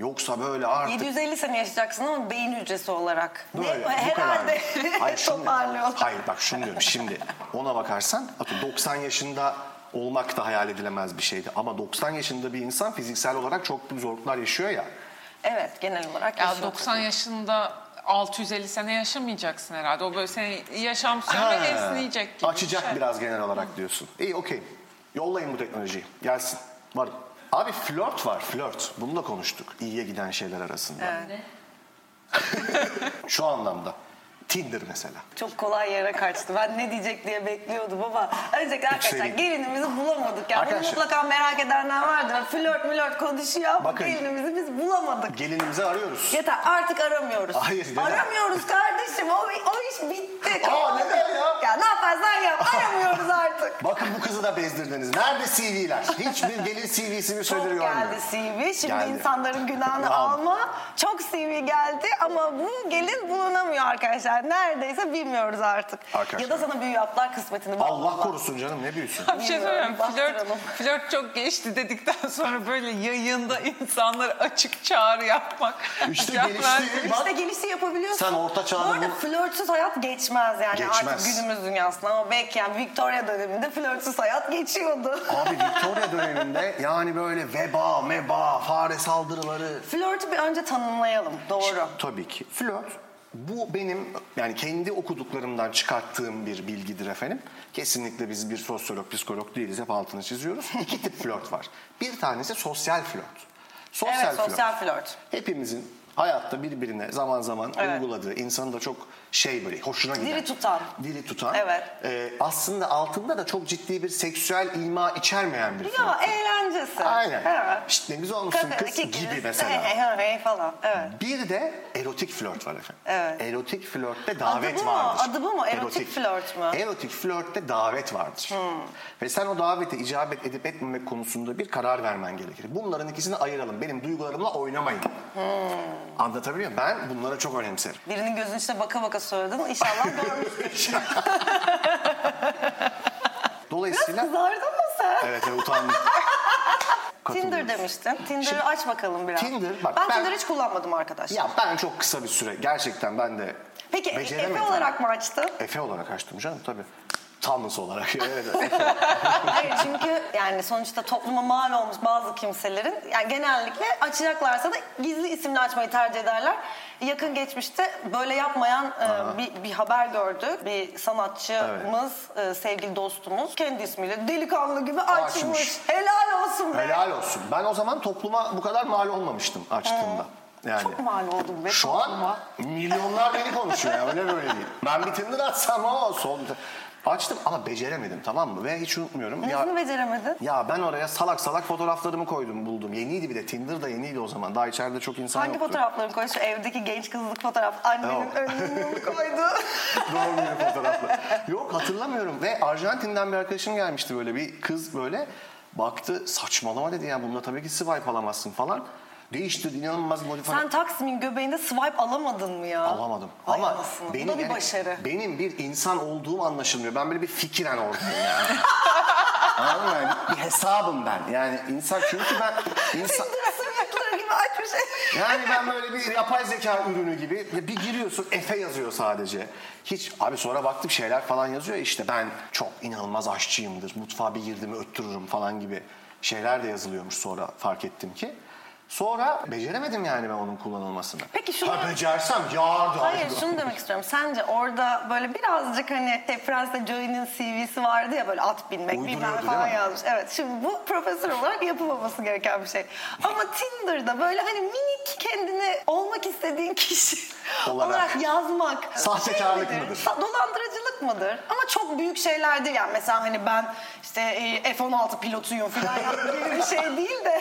Yoksa böyle artık 750 sene yaşayacaksın ama beyin hücresi olarak. Böyle, Ne? bu Herhalde kadar. Hayır, şunu- toparlıyorlar. Hayır bak şunu diyorum şimdi ona bakarsan atıyorum 90 yaşında olmak da hayal edilemez bir şeydi. Ama 90 yaşında bir insan fiziksel olarak çok büyük zorluklar yaşıyor ya. Evet genel olarak Ya yaşıyor. 90 yaşında 650 sene yaşamayacaksın herhalde. O böyle senin yaşam Ha, süreni esneyecek gibi. bir Açacak şey. biraz genel olarak diyorsun. İyi okey. Yollayın bu teknolojiyi. Gelsin. Varım. Abi flört var flört. Bunu da konuştuk. İyiye giden şeyler arasında. Şu anlamda. Tinder mesela. Çok kolay yere kaçtı. Ben ne diyecek diye bekliyordum ama öncelikle arkadaşlar değil. gelinimizi bulamadık. Yani bunu Arkadaşlar- mutlaka merak edenler vardır. Flört mülört konuşuyor ama Bakın. gelinimizi biz bulamadık. Gelinimizi arıyoruz. Yeter artık aramıyoruz. Hayır, neden? Aramıyoruz kardeşim. O, o iş bitti. Aa, neden ya? Ya ne yaparsan yap. Aramıyoruz artık. Bakın bu kızı da bezdirdiniz. Nerede CV'ler? Hiçbir gelin CV'si bir Çok şeyleri geldi görmüyor. CV. Şimdi Geldi. insanların günahını Tamam. alma. Çok CV geldi ama bu gelin bulunamıyor arkadaşlar. Neredeyse bilmiyoruz artık. Arkadaşlar. Ya da sana büyü yaptılar kısmetini. Allah korusun canım ne büyüsün. Bir şey söyleyeyim. Bilmiyorum, Flört, bastıralım. flört çok geçti dedikten sonra böyle yayında insanlara açık çağrı yapmak. İşte Mükemmel. gelişti. Bak, İşte gelişi yapabiliyorsun. Sen orta çağda Bu arada bunu- flörtsüz hayat geçmez yani Geçmez. artık günümüz dünyasında ama belki yani Victoria döneminde flörtsüz hayat geçiyordu. Abi Victoria döneminde yani böyle veba, meba, fare saldırıları. Flörtü bir önce tanımlayalım doğru. Tabii ki. Flört bu benim yani kendi okuduklarımdan çıkarttığım bir bilgidir efendim. Kesinlikle biz bir sosyolog, psikolog değiliz. Hep altını çiziyoruz. İki tip flört var. Bir tanesi sosyal flört. Sosyal evet sosyal flört. hepimizin hayatta birbirine zaman zaman Evet. uyguladığı insanın da çok şey böyle hoşuna giden. Diri tutan. Diri tutan. Evet. e, aslında altında da çok ciddi bir seksüel ilma içermeyen bir Ya flört. eğlencesi. Aynen. Evet. İşte ne güzel olmuşsun Kadın, kız iki gibi kız, mesela. Hey, hey, hey falan. Evet. Bir de erotik flört var efendim. Evet. Erotik flörtte davet Adı bu mu? vardır. Adı bu mu? Erotik flört mü? Hmm. Erotik flörtte davet vardır. Ve sen o davete icabet edip etmemek konusunda bir karar vermen gerekir. Bunların ikisini ayıralım. Benim duygularımla oynamayın. Hmm. Anlatabiliyor muyum? Ben bunlara çok önemserim. Birinin gözünün içine baka baka söyledin. İnşallah görmüştür. Dolayısıyla... Kızardın mı sen? evet evet utandım. Tinder Katılıyorum. demiştin. Tinder'ı Şimdi- aç bakalım biraz. Tinder, bak ben, ben- Tinder hiç kullanmadım arkadaş. Ya ben çok kısa bir süre gerçekten ben de Peki e- beceremedim. Efe olarak mı açtın? Efe olarak açtım canım tabii. Thomas olarak. Evet, evet. Hayır çünkü yani sonuçta topluma mal olmuş bazı kimselerin yani genellikle açacaklarsa da gizli isimle açmayı tercih ederler. Yakın geçmişte böyle yapmayan e, bir, bir haber gördük. Bir sanatçımız, e, sevgili dostumuz kendi ismiyle delikanlı gibi açmış. Açmış. Helal olsun be. Helal olsun. Ben o zaman topluma bu kadar mal olmamıştım açtığımda. Yani Ee, Çok mal oldum be şu topluma. an milyonlar beni konuşuyor ya öyle böyle değil. Ben bir Tinder açsam ama son açtım ama beceremedim tamam mı? Ve hiç unutmuyorum. Ya, Nesini beceremedin? ya ben oraya salak salak fotoğraflarımı koydum buldum. Yeniydi bir de Tinder da yeniydi o zaman. Daha içeride çok insan Hangi yoktu. fotoğraflarını koydu? Şu evdeki genç kızlık fotoğraf. Annenin Yok. önlüğünü mü koydu. Doğru bir fotoğrafla. Yok hatırlamıyorum. Ve Arjantin'den bir arkadaşım gelmişti böyle bir kız böyle. Baktı saçmalama dedi ya bununla tabii ki swipe alamazsın falan. Değişti inanılmaz modifiye. Sen Taksim'in göbeğinde swipe alamadın mı ya? Alamadım. Vay Ama anasını. Bu benim, da bir yani başarı. benim bir insan olduğum anlaşılmıyor. Ben böyle bir fikiren oradayım yani. Anladın mı? Yani bir hesabım ben. Yani insan çünkü ben insan... Sırtları gibi açmış. Yani ben böyle bir yapay zeka ürünü gibi ya bir giriyorsun Efe yazıyor sadece. Hiç abi sonra baktım şeyler falan yazıyor ya işte ben çok inanılmaz aşçıyımdır. Mutfağa bir girdiğimi öttürürüm falan gibi şeyler de yazılıyormuş sonra fark ettim ki. Sonra beceremedim yani ben onun kullanılmasını. Peki şunu- Ha becersem yardım. Hayır şunu demek istiyorum. Sence orada böyle birazcık hani Fransa'da Joey'nin CV'si vardı ya böyle at binmek bilmem Uyduruyordu, falan değil mi? yazmış. Evet şimdi bu profesör olarak yapılmaması gereken bir şey. Ama Tinder'da böyle hani minik kendini olmak istediğin kişi olarak, Olarak. yazmak. Sahtekarlık midir? mıdır? Sa- Dolandırıcılık mıdır? Ama çok büyük şeyler değil yani. Mesela hani ben işte e, F-16 pilotuyum falan yani gibi bir şey değil de.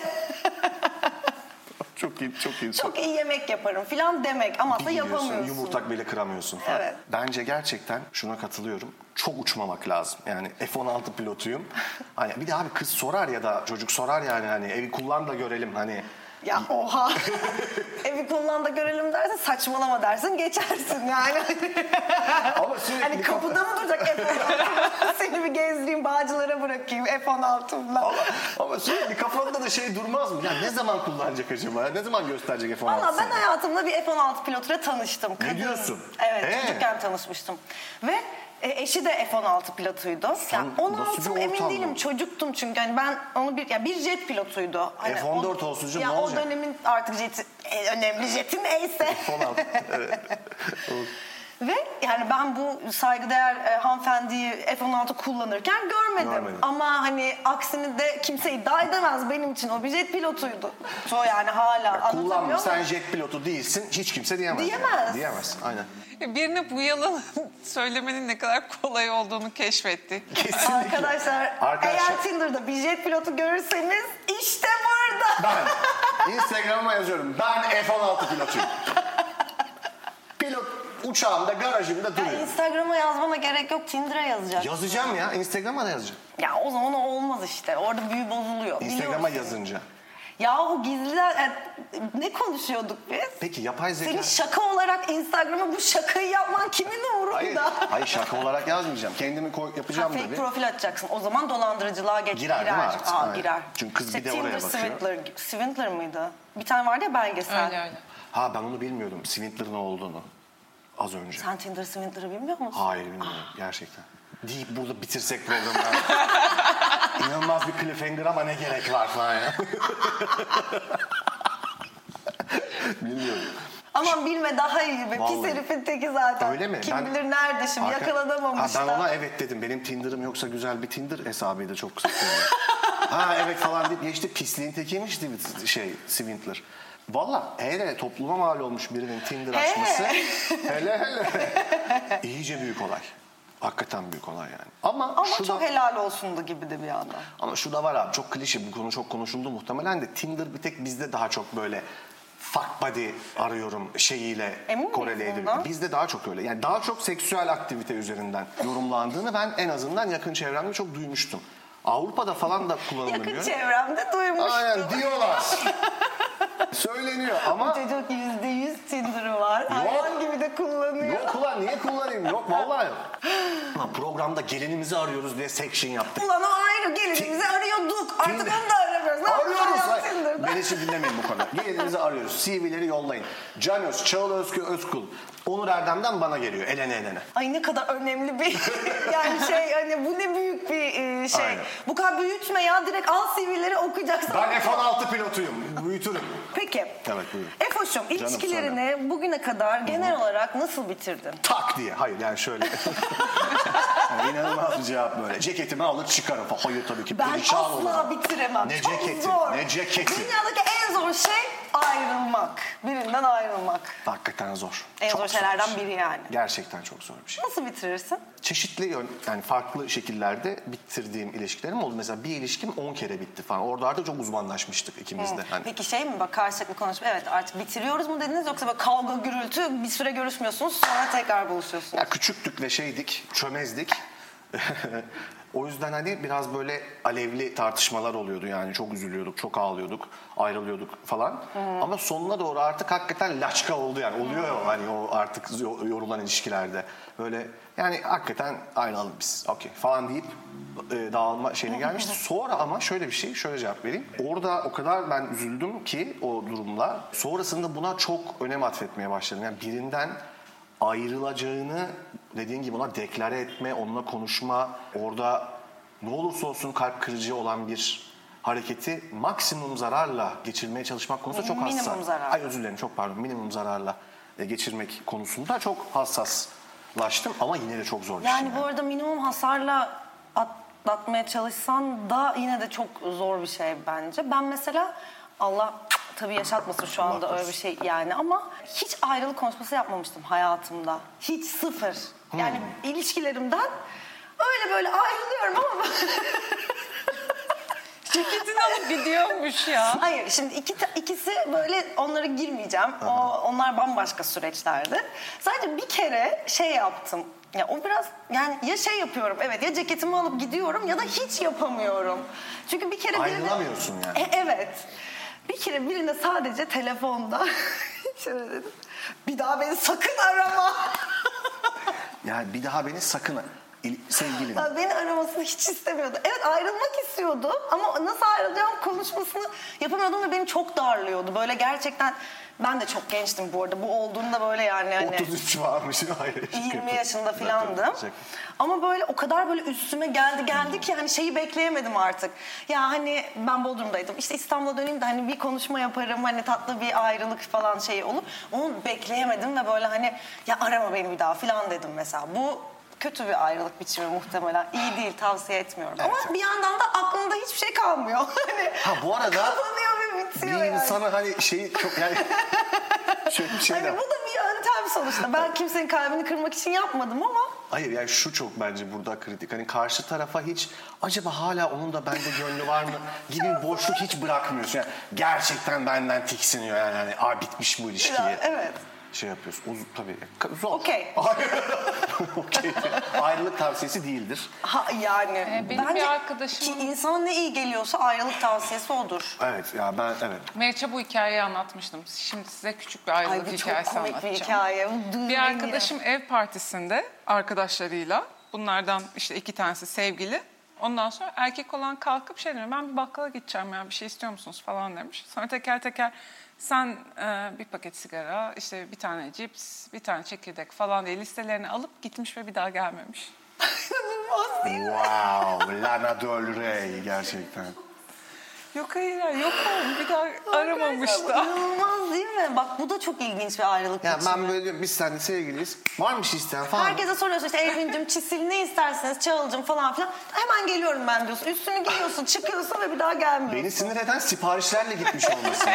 Çok iyi, çok iyi. Çok iyi yemek yaparım falan demek ama da Bir gidiyorsun, yapamıyorsun. Yumurtak bile kıramıyorsun falan. Evet. Bence gerçekten şuna katılıyorum. Çok uçmamak lazım. Yani F-16 pilotuyum. Hani bir de abi kız sorar ya da çocuk sorar yani hani evi kullan da görelim hani. Ya oha. Evi kullan da görelim dersin saçmalama dersin geçersin yani. Ama sürekli hani kapıda mı duracak ev Seni bir sizi gezdireyim, bağcılara bırakayım F-16'mla. Ama, ama sürekli kafanda da şey durmaz mı? Ya ne zaman kullanacak acaba? Ya Ne zaman gösterecek f Valla ben hayatımda bir F-16 pilotuyla tanıştım. Kadın. diyorsun? Ee? Evet, He. çocukken tanışmıştım. Ve e, eşi de F-16 pilotuydu. Yani Sen 16 nasıl mı bir emin ortam değilim bu? çocuktum çünkü. Hani ben onu bir, ya bir jet pilotuydu. Hani F-14 o- olsun canım, ya ne olacak? O dönemin artık jeti, e, önemli jeti neyse. Ve yani ben bu saygıdeğer e, hanımefendiyi F-16 kullanırken görmedim. Görmedim. Ama hani aksini de kimse iddia edemez benim için. O bir jet pilotuydu. O yani hala anlatabiliyor Kullanma muyum? sen jet pilotu değilsin hiç kimse diyemez. yani. Diyemez. Diyemez aynen. Birine bu yalanı söylemenin ne kadar kolay olduğunu keşfettik. Kesinlikle. Arkadaşlar, Arkadaşlar. eğer Tinder'da bir jet pilotu görürseniz işte burada. Ben Instagram'a yazıyorum. Ben F-16 pilotuyum. Pilot uçağımda garajımda Ya duruyor. Instagram'a yazmana gerek yok Tinder'a yazacak. Ya. Yazacağım ya. Instagram'a da yazacağım. o zaman o olmaz işte. Orada büyü bozuluyor. Instagram'a Biliyorsun. yazınca. Yahu gizliler e, ne konuşuyorduk biz? Peki yapay zeka... Senin şaka olarak Instagram'a bu şakayı yapman kimin uğrunda? Hayır, hayır şaka olarak yazmayacağım. Kendimi koy, Ha, yapacağım fake tabii. profil açacaksın. O zaman dolandırıcılığa geç. Girer değil mi artık? Aa, Aynen. girer. Çünkü kız bir de oraya Tinder bakıyor. Swindler, Swindler mıydı? Bir tane vardı ya belgesel. Öyle öyle. Ha ben onu bilmiyordum. Swindler'ın ne olduğunu. Az önce. Sen Ah. Tinder Swindler'ı bilmiyor musun? Hayır bilmiyorum gerçekten. Deyip burada bitirsek programı. ya. İnanılmaz bir cliffhanger ama ne gerek var falan ya. Bilmiyorum. Aman bilme daha iyi be. Pis Vallahi. herifin teki zaten. Öyle mi? Kim Ben- bilir nerede şimdi Arka- yakalanamamış Ha, da. ben ona evet dedim. Benim Tinder'ım yoksa güzel bir Tinder hesabıydı çok kısa sürede. ha evet falan deyip geçti. Pisliğin tekiymiş değil mi şey Swindler? Valla hele topluma mal olmuş birinin Tinder He. açması. hele hele. İyice büyük olay. Hakikaten büyük olay yani. Ama, Ama şu çok da, helal olsundu gibi de bir yandan. ama şu da var abi çok klişe bu konu çok konuşuldu muhtemelen de Tinder bir tek bizde daha çok böyle fuck buddy arıyorum şeyiyle Emin miyiz korele ediliyor. bundan? Bizde daha çok öyle. Yani daha çok seksüel aktivite üzerinden yorumlandığını ben en azından yakın çevremde çok duymuştum. Avrupa'da falan da Yakın kullanılmıyor. çevremde duymuştum. Aynen diyorlar. Söyleniyor ama Çocuk yüzde yüz Tinder'ı var. Hayvan gibi de kullanıyor. yok ulan niye kullanayım? Yok vallahi yok. Ulan programda gelinimizi arıyoruz diye section yaptık. Ulan o ayrı gelinimizi arıyorduk. Artık Tinder- onu da aramıyoruz. Ne Arıyoruz. yapacağız Hayır, Tinder'da? Beni şimdi dinlemeyin bu konuda. Gelinimizi arıyoruz. CV'leri yollayın. Can Öz, Çağıl Özkü Özkul. Onur Erdem'den bana geliyor. Elene elene. Ay ne kadar önemli bir yani şey hani bu ne büyük bir e, şey. Aynen. Bu kadar büyütme ya direkt al CV'leri okuyacaksın. Ben F-16 pilotuyum. Büyütürüm. Peki. Evet, buyurun. Efoş'um ilişkilerini bugüne kadar genel olarak nasıl bitirdin? Tak diye. Hayır yani şöyle. yani inanılmaz bir cevap böyle. Ceketimi alır çıkarım. falan. Hayır tabii ki. Ben perişan asla olurum. bitiremem. Ne Çok ceketi, zor. ne ceketi. Dünyadaki en zor şey ayrılmak. Birinden ayrılmak. Hakikaten zor. En Çok zor şeylerden biri yani. Gerçekten çok zor bir şey. Nasıl bitirirsin? çeşitli yön, yani farklı şekillerde bitirdiğim ilişkilerim oldu. Mesela bir ilişkim 10 kere bitti falan. Orada artık çok uzmanlaşmıştık ikimiz de. Hani Peki şey mi bak karşılıklı konuşma evet artık bitiriyoruz mu dediniz yoksa böyle kavga gürültü bir süre görüşmüyorsunuz sonra tekrar buluşuyorsunuz. ya küçüktük ve şeydik, çömezdik. o yüzden hani biraz böyle alevli tartışmalar oluyordu yani. Çok üzülüyorduk, çok ağlıyorduk, ayrılıyorduk falan. Ama sonuna doğru artık hakikaten laçka oldu yani. Oluyor ya hani o artık yo- yorulan ilişkilerde. Böyle yani hakikaten ayrılalım biz okey falan deyip e, dağılma şeyine gelmişti. Sonra ama şöyle bir şey, şöyle cevap vereyim. Orada o kadar ben üzüldüm ki o durumla. Sonrasında buna çok önem atfetmeye başladım. Yani birinden ayrılacağını dediğin gibi ona deklare etme, onunla konuşma, orada ne olursa olsun kalp kırıcı olan bir hareketi maksimum zararla geçirmeye çalışmak konusunda çok Minimum hassas. zarar. Ay özür dilerim çok pardon. Minimum zararla e, geçirmek konusunda çok hassaslaştım ama yine de çok zor bir şey. Yani bu arada minimum hasarla atlatmaya çalışsan da yine de çok zor bir şey bence. Ben mesela Allah tabii yaşatmasın şu anda öyle bir şey yani ama hiç ayrılık konuşması yapmamıştım hayatımda. Hiç sıfır. Yani ilişkilerimden öyle böyle ayrılıyorum ama Ceketini alıp gidiyormuş ya. Hayır şimdi iki, ta- ikisi böyle onlara girmeyeceğim. O, onlar bambaşka süreçlerdi. Sadece bir kere şey yaptım. Ya o biraz yani ya şey yapıyorum evet ya ceketimi alıp gidiyorum ya da hiç yapamıyorum. Çünkü bir kere birine- Ayrılamıyorsun yani. E, evet. Bir kere birine sadece telefonda şöyle dedim. Bir daha beni sakın arama. Yani bir daha beni sakın il- sevgilin. Ya beni aramasını hiç istemiyordu. Evet ayrılmak istiyordu ama nasıl ayrılacağım konuşmasını yapamıyordum ve beni çok darlıyordu. Böyle gerçekten ben de çok gençtim bu arada. Bu olduğunda böyle yani hani 33 varmış. Hayır. 20 yaşında filandım. Ama böyle o kadar böyle üstüme geldi geldi ki hani şeyi bekleyemedim artık. Ya hani ben Bodrum'daydım. İşte İstanbul'a döneyim de hani bir konuşma yaparım. Hani tatlı bir ayrılık falan şey olur. Onu bekleyemedim ve böyle hani ya arama beni bir daha filan dedim mesela. Bu kötü bir ayrılık biçimi muhtemelen. İyi değil tavsiye etmiyorum. Evet, Ama evet. bir yandan da aklımda hiçbir şey kalmıyor. Hani Ha bu arada kapanıyor ve bir bitiyor yani. insana hani şey çok yani şöyle bir şey de- Hani bu da bir yöntem sonuçta. Ben kimsenin kalbini kırmak için yapmadım ama Hayır yani şu çok bence burada kritik. Hani karşı tarafa hiç acaba hala onun da bende gönlü var mı gibi bir boşluk hiç bırakmıyorsun. Yani gerçekten benden tiksiniyor yani. Hani, Aa bitmiş bu ilişki. Ya, evet. Şey yapıyorsun. Uzun tabii. Ka- Zor. Okey. Hayır. Okey. Ayrılık tavsiyesi değildir. Ha, yani Ee, benim bir arkadaşımın- ki insana ne iyi geliyorsa ayrılık tavsiyesi odur. Evet ya ben evet. Meriç'e bu hikayeyi anlatmıştım. Şimdi size küçük bir Ay ayrılık bu çok hikayesi komik bir anlatacağım. hikaye. Bir arkadaşım ev partisinde arkadaşlarıyla bunlardan işte iki tanesi sevgili. Ondan sonra erkek olan kalkıp şey demiş ben bir bakkala gideceğim ya bir şey istiyor musunuz falan demiş. Sonra teker teker sen e, bir paket sigara işte bir tane cips bir tane çekirdek falan diye listelerini alıp gitmiş ve bir daha gelmemiş. Wow. Lana Del Rey gerçekten. Yok hayır hayır, yok oğlum bir daha aramamış da. İnanılmaz değil mi? Bak bu da çok ilginç bir ayrılık Ya biçimi. ben böyle diyorum, biz seninle sevgiliyiz. Var mı şey isteyen falan? Herkese soruyorsun işte Elvin'cim çisil ne isterseniz Çağıl'cım falan filan. Hemen geliyorum ben diyorsun. Üstünü giyiyorsun çıkıyorsun ve bir daha gelmiyorsun. Beni sinir eden siparişlerle gitmiş olması.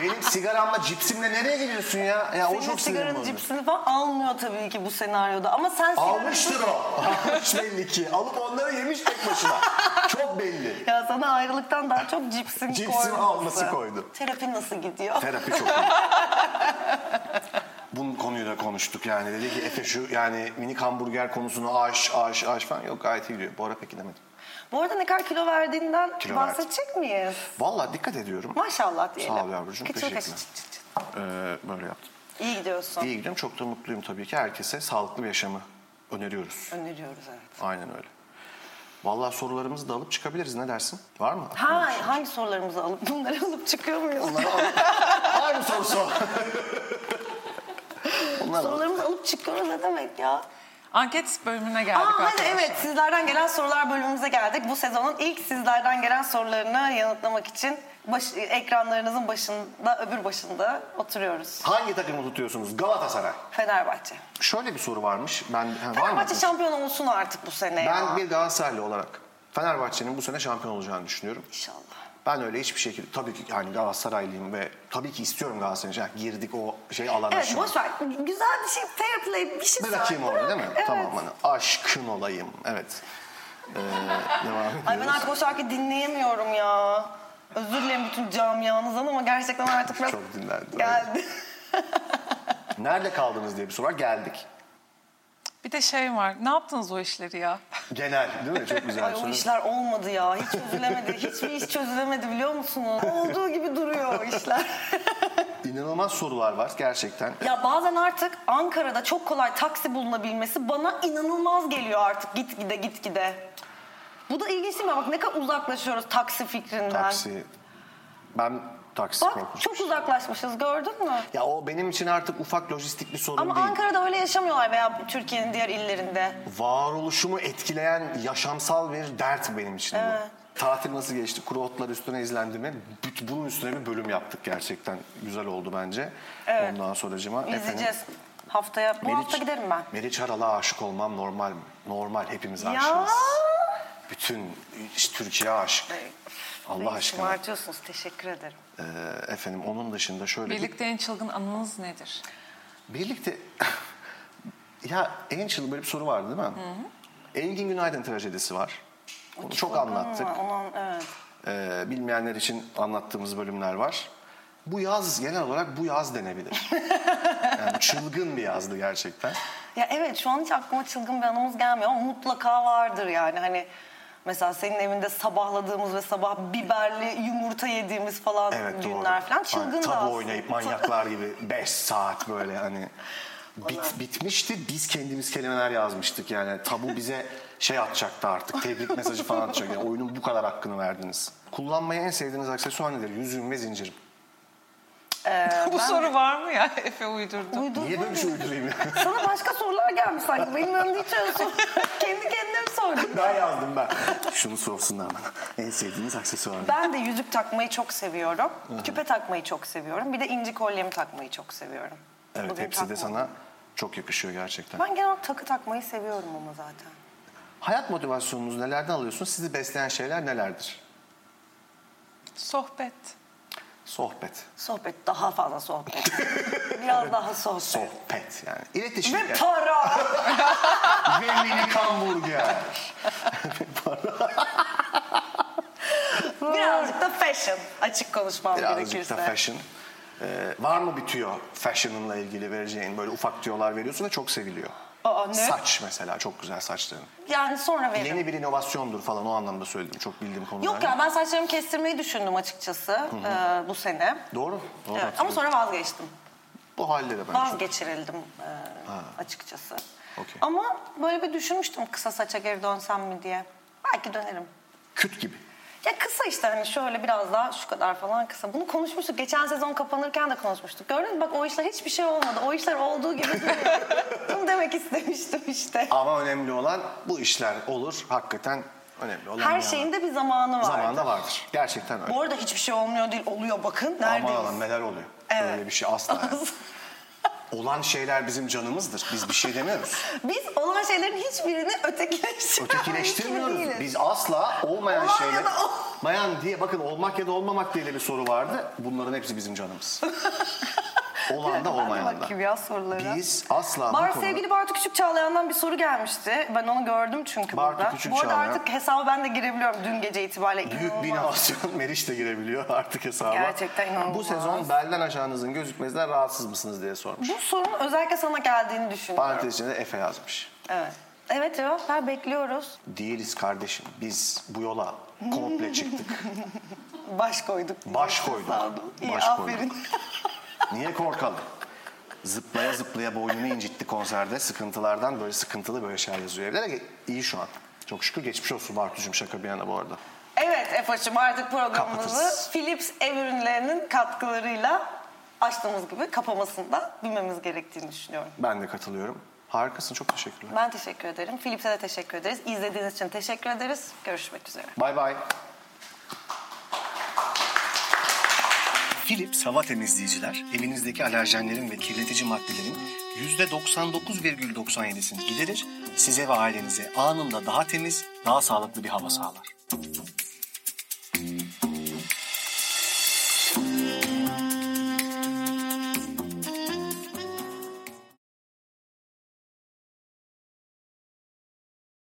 Benim sigaramla cipsimle nereye gidiyorsun ya? Ya o çok Senin sinirim sigaranı bozdu. cipsini falan almıyor tabii ki bu senaryoda. Ama sen sigaranı- Almıştır o. Almış belli ki. Alıp onları yemiş tek başına. Çok belli. Ya sana ayrılıktan daha çok cipsin, Cipsin koyması. alması koydu. Terapi nasıl gidiyor? Terapi çok iyi. Bunun konuyu da konuştuk yani. Dedi ki Efe şu yani minik hamburger konusunu aş aş aş falan. Yok gayet iyi gidiyor. Bu ara pek gidemedim. Bu arada ne kadar kilo verdiğinden Kilo bahsedecek miyiz? Vallahi dikkat ediyorum. Maşallah diyelim. Sağ ol yavrucuğum. Kıçır Teşekkürler. kaçır çıt çıt çıt. Ee, böyle yaptım. İyi gidiyorsun. İyi gidiyorum. Çok da mutluyum tabii ki. Herkese sağlıklı bir yaşamı öneriyoruz. Öneriyoruz evet. Aynen öyle. Vallahi sorularımızı da alıp çıkabiliriz. Ne dersin? Var mı? Ha, hangi sorularımızı alıp bunları alıp çıkıyor muyuz? Var mı sorusu? Bunlar sorularımızı alıp çıkıyoruz ne demek ya? Anket bölümüne Aa, geldik hadi arkadaşlar. evet sizlerden gelen sorular bölümümüze geldik. Bu sezonun ilk sizlerden gelen sorularını yanıtlamak için baş- ekranlarınızın başında öbür başında oturuyoruz. Hangi takımı tutuyorsunuz? Galatasaray. Fenerbahçe. Şöyle bir soru varmış. Ben ha, var mı? Fenerbahçe şampiyon olsun artık bu sene ya. Ben bir Galatasaraylı olarak Fenerbahçe'nin bu sene şampiyon olacağını düşünüyorum. İnşallah. Ben öyle hiçbir şekilde tabii ki yani Galatasaraylıyım ve tabii ki istiyorum Galatasaray'ın. Yani girdik o şey alana Evet şu an. boş ver. Güzel bir şey fair play bir şey Bırakayım söyle. orada değil mi? Evet. Tamam hani aşkın olayım. Evet. Ee, devam Ay ben ediyoruz. artık o şarkıyı dinleyemiyorum ya. Özür dilerim bütün camianızdan ama gerçekten artık biraz Çok dinlendi. geldi. Nerede kaldınız diye bir soru var. Geldik. Bir de şey var ne yaptınız o işleri ya? Genel değil mi? Çok güzel Ay bir o soru. işler olmadı ya. Hiç çözülemedi. Hiçbir iş çözülemedi biliyor musunuz? Olduğu gibi duruyor o işler. İnanılmaz sorular var gerçekten. ya bazen artık Ankara'da çok kolay taksi bulunabilmesi bana inanılmaz geliyor artık gitgide gitgide. Bu da ilginç değil mi? Bak ne kadar uzaklaşıyoruz taksi fikrinden. Taksi. Ben taksi Bak korkusu- çok uzaklaşmışız gördün mü? Ya o benim için artık ufak lojistik bir sorun Ama değil. Ankara'da öyle yaşamıyorlar veya Türkiye'nin diğer illerinde. Varoluşumu etkileyen yaşamsal bir dert benim için Evet. bu. Tatil nasıl geçti? Kuru otlar üstüne izlendi mi? Büt- Bunun üstüne bir bölüm yaptık gerçekten. Güzel oldu bence. Evet. Ondan sonracıma. İzleyeceğiz. Haftaya, bu hafta giderim ben. Meriç Aral'a aşık olmam normal mi? Normal hepimiz Ya. aşığız. Bütün işte Türkiye aşık. Allah aşkına. aşkına. Teşekkür ederim. Ee, efendim onun dışında şöyle bir- Birlikte en çılgın anınız nedir? Birlikte ya Angel böyle bir soru vardı değil mi? Engin Günaydın trajedisi var. Onu çok anlattık. Ama Onun, evet. Ee, bilmeyenler için anlattığımız bölümler var. Bu yaz genel olarak bu yaz denebilir. yani çılgın bir yazdı gerçekten. Ya evet şu an hiç aklıma çılgın bir anımız gelmiyor ama mutlaka vardır yani hani mesela senin evinde sabahladığımız ve sabah biberli yumurta yediğimiz falan Evet doğru. günler falan çılgın Hani da Tabu aslında. oynayıp manyaklar gibi 5 saat böyle hani Bit, bitmişti. Biz kendimiz kelimeler yazmıştık yani. Tabu bize şey atacaktı artık. Tebrik mesajı falan atacak. Yani oyunun bu kadar hakkını verdiniz. Kullanmayı en sevdiğiniz aksesuar nedir? Yüzüğüm ve zincirim. Bu soru var mı ya? Efe uydurdu. Uydurdun Niye böyle bir şey uydurayım ya? Sana başka sorular gelmiş sanki. Benim önümde hiç öyle sor- Kendi kendine mi sordun? ben yazdım ben. Şunu sorsunlar bana. En sevdiğiniz aksesuar ne? Ben de yüzük takmayı çok seviyorum. Küpe takmayı çok seviyorum. Bir de inci kolyemi takmayı çok seviyorum. Evet Bugün hepsi de takmadım. sana çok yakışıyor gerçekten. Ben genel olarak takı takmayı seviyorum ama zaten. Hayat motivasyonunuzu nelerden alıyorsunuz? Sizi besleyen şeyler nelerdir? Sohbet. Sohbet. Sohbet daha fazla sohbet. Biraz daha sohbet. Sohbet yani. İletişim. Ve yani. para. Ve mini hamburger. Birazcık da fashion. Açık konuşmam Birazcık gerekirse. da fashion. Ee, var mı bir tüyo fashion'ınla ilgili vereceğin böyle ufak tüyolar veriyorsun da çok seviliyor. Aa, ne? Saç mesela çok güzel saçların. Yani sonra veririm. Yeni bir inovasyondur falan o anlamda söyledim. Çok bildiğim konular. Yok ya ben saçlarımı kestirmeyi düşündüm açıkçası e, bu sene. Doğru. doğru Evet, ama hatırlıyorum. sonra vazgeçtim. Bu halde de ben çok- Vazgeçirildim e, açıkçası. Okey. Ama böyle bir düşünmüştüm kısa saça geri dönsem mi diye. Belki dönerim. küt gibi. Ya kısa işte hani şöyle biraz daha şu kadar falan kısa. Bunu konuşmuştuk. Geçen sezon kapanırken de konuşmuştuk. Gördün mü? Bak o işler hiçbir şey olmadı. O işler olduğu gibi duruyor. Bunu demek istemiştim işte. Ama önemli olan bu işler olur. Hakikaten önemli olan Her yani. şeyin de bir zamanı var. zamanında vardır. Gerçekten öyle. Bu arada hiçbir şey olmuyor değil. Oluyor bakın. Aman Neredeyiz? aman neler oluyor. Evet. Öyle bir şey asla. yani. olan şeyler bizim canımızdır. Biz bir şey demiyoruz. Biz olan şeylerin hiçbirini ötekileştirmiyoruz. Ötekileştirmiyoruz. Biz asla olmayan Olan ya şeyler... da ol- Mayan diye bakın olmak ya da olmamak diye de bir soru vardı. Bunların hepsi bizim canımız. Olan da olmayan da. Bakayım ya sorulara. Biz asla Bar bu konuda... sevgili Bartu Küçük Çağlayan'dan bir soru gelmişti. Ben onu gördüm çünkü Bartu burada. Küçük Bu arada Çağlayan. artık hesaba ben de girebiliyorum dün gece itibariyle. Büyük bir İnanılmaz. inovasyon Meriç de girebiliyor artık hesaba. Gerçekten inanılmaz. Bu sezon belden aşağınızın gözükmesinden rahatsız mısınız diye sormuş. Bu sorun özellikle sana geldiğini düşünüyorum. Parantez içinde Efe yazmış. Evet. Evet cevaplar bekliyoruz. Değiliz kardeşim. Biz bu yola komple çıktık. Baş koyduk. Baş koyduk. Sağ olun. İyi Baş koyduk. aferin. Niye korkalım? Zıplaya zıplaya boynunu incitti konserde. Sıkıntılardan böyle sıkıntılı böyle şeyler yazıyor evlere. İyi şu an. Çok şükür geçmiş olsun Bartucuğum şaka bir yana bu arada. evet Efa'cığım artık programımızı Kapatırız. Philips ev ürünlerinin katkılarıyla açtığımız gibi kapamasında bilmemiz gerektiğini düşünüyorum. Ben de katılıyorum. Harikasın çok teşekkürler. Ben teşekkür ederim. Philips'e de teşekkür ederiz. İzlediğiniz için teşekkür ederiz. Görüşmek üzere. Bay bay. Philips hava temizleyiciler evinizdeki alerjenlerin ve kirletici maddelerin %99,97'sini giderir, size ve ailenize anında daha temiz, daha sağlıklı bir hava sağlar.